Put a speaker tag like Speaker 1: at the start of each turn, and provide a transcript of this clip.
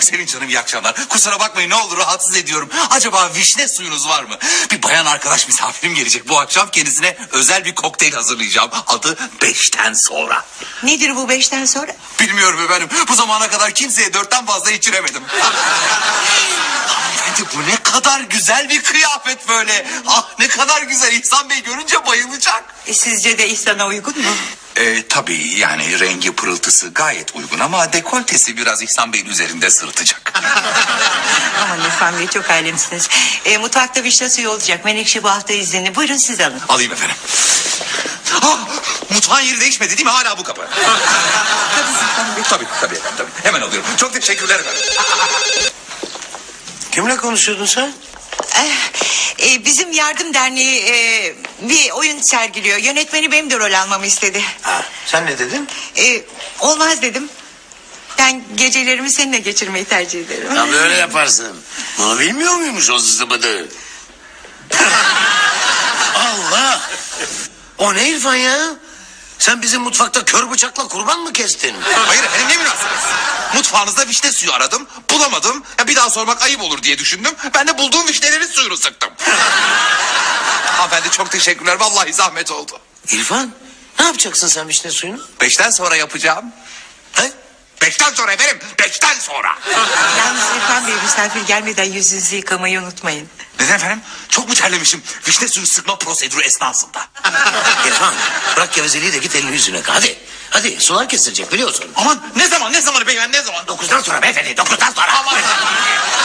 Speaker 1: Sevinç Hanım iyi akşamlar. Kusura bakmayın ne olur rahatsız ediyorum. Acaba vişne suyunuz var mı? Bir bayan arkadaş misafirim gelecek bu akşam. Kendisine özel bir kokteyl hazırlayacağım. Adı beşten sonra.
Speaker 2: Nedir bu beşten sonra?
Speaker 1: Bilmiyorum efendim. Bu zamana kadar kimseye dörtten fazla içiremedim. Hanımefendi bu ne kadar güzel bir kıyafet böyle. Ah ne kadar güzel. İhsan Bey görünce bayılacak.
Speaker 2: E, sizce de İhsan'a uygun mu?
Speaker 1: E, tabii yani rengi pırıltısı gayet uygun ama dekoltesi biraz İhsan Bey'in üzerinde sırıtacak.
Speaker 2: Aman İrfan Bey çok alemsiniz. E, mutfakta vişne suyu olacak. Menekşe bu hafta izinli. Buyurun siz alın.
Speaker 1: Alayım efendim. Ah, mutfağın yeri değişmedi değil mi? Hala bu kapı. tabii tabii efendim tabii. Hemen alıyorum. Çok teşekkürler efendim.
Speaker 3: Kimle konuşuyordun sen?
Speaker 2: Eh, e, bizim yardım derneği e, bir oyun sergiliyor. Yönetmeni benim de rol almamı istedi.
Speaker 3: Ha, sen ne dedin?
Speaker 2: E, olmaz dedim. Ben gecelerimi seninle geçirmeyi tercih ederim.
Speaker 3: Ya böyle yaparsın. Bunu bilmiyor muymuş o zıbıdı? Allah! O ne İrfan ya? Sen bizim mutfakta kör bıçakla kurban mı kestin?
Speaker 1: Hayır efendim ne münasebet. Mutfağınızda vişne suyu aradım. Bulamadım. Ya bir daha sormak ayıp olur diye düşündüm. Ben de bulduğum vişnelerin suyunu sıktım. Hanımefendi çok teşekkürler. Vallahi zahmet oldu.
Speaker 3: İrfan, ne yapacaksın sen vişne suyunu?
Speaker 1: Beşten sonra yapacağım.
Speaker 3: He?
Speaker 1: Beşten sonra efendim. Beşten sonra.
Speaker 2: Yalnız İrfan Bey misafir gelmeden yüzünüzü yıkamayı unutmayın.
Speaker 1: Neden efendim? Çok mu terlemişim? Vişne suyu sıkma prosedürü esnasında.
Speaker 3: İrfan, bırak gevezeliği de git elini yüzüne. yıka. Hadi, hadi sular kesilecek biliyorsun.
Speaker 1: Aman ne zaman ne zamanı beyefendi ne zaman?
Speaker 3: Dokuzdan sonra beyefendi, dokuzdan sonra.
Speaker 1: Aman.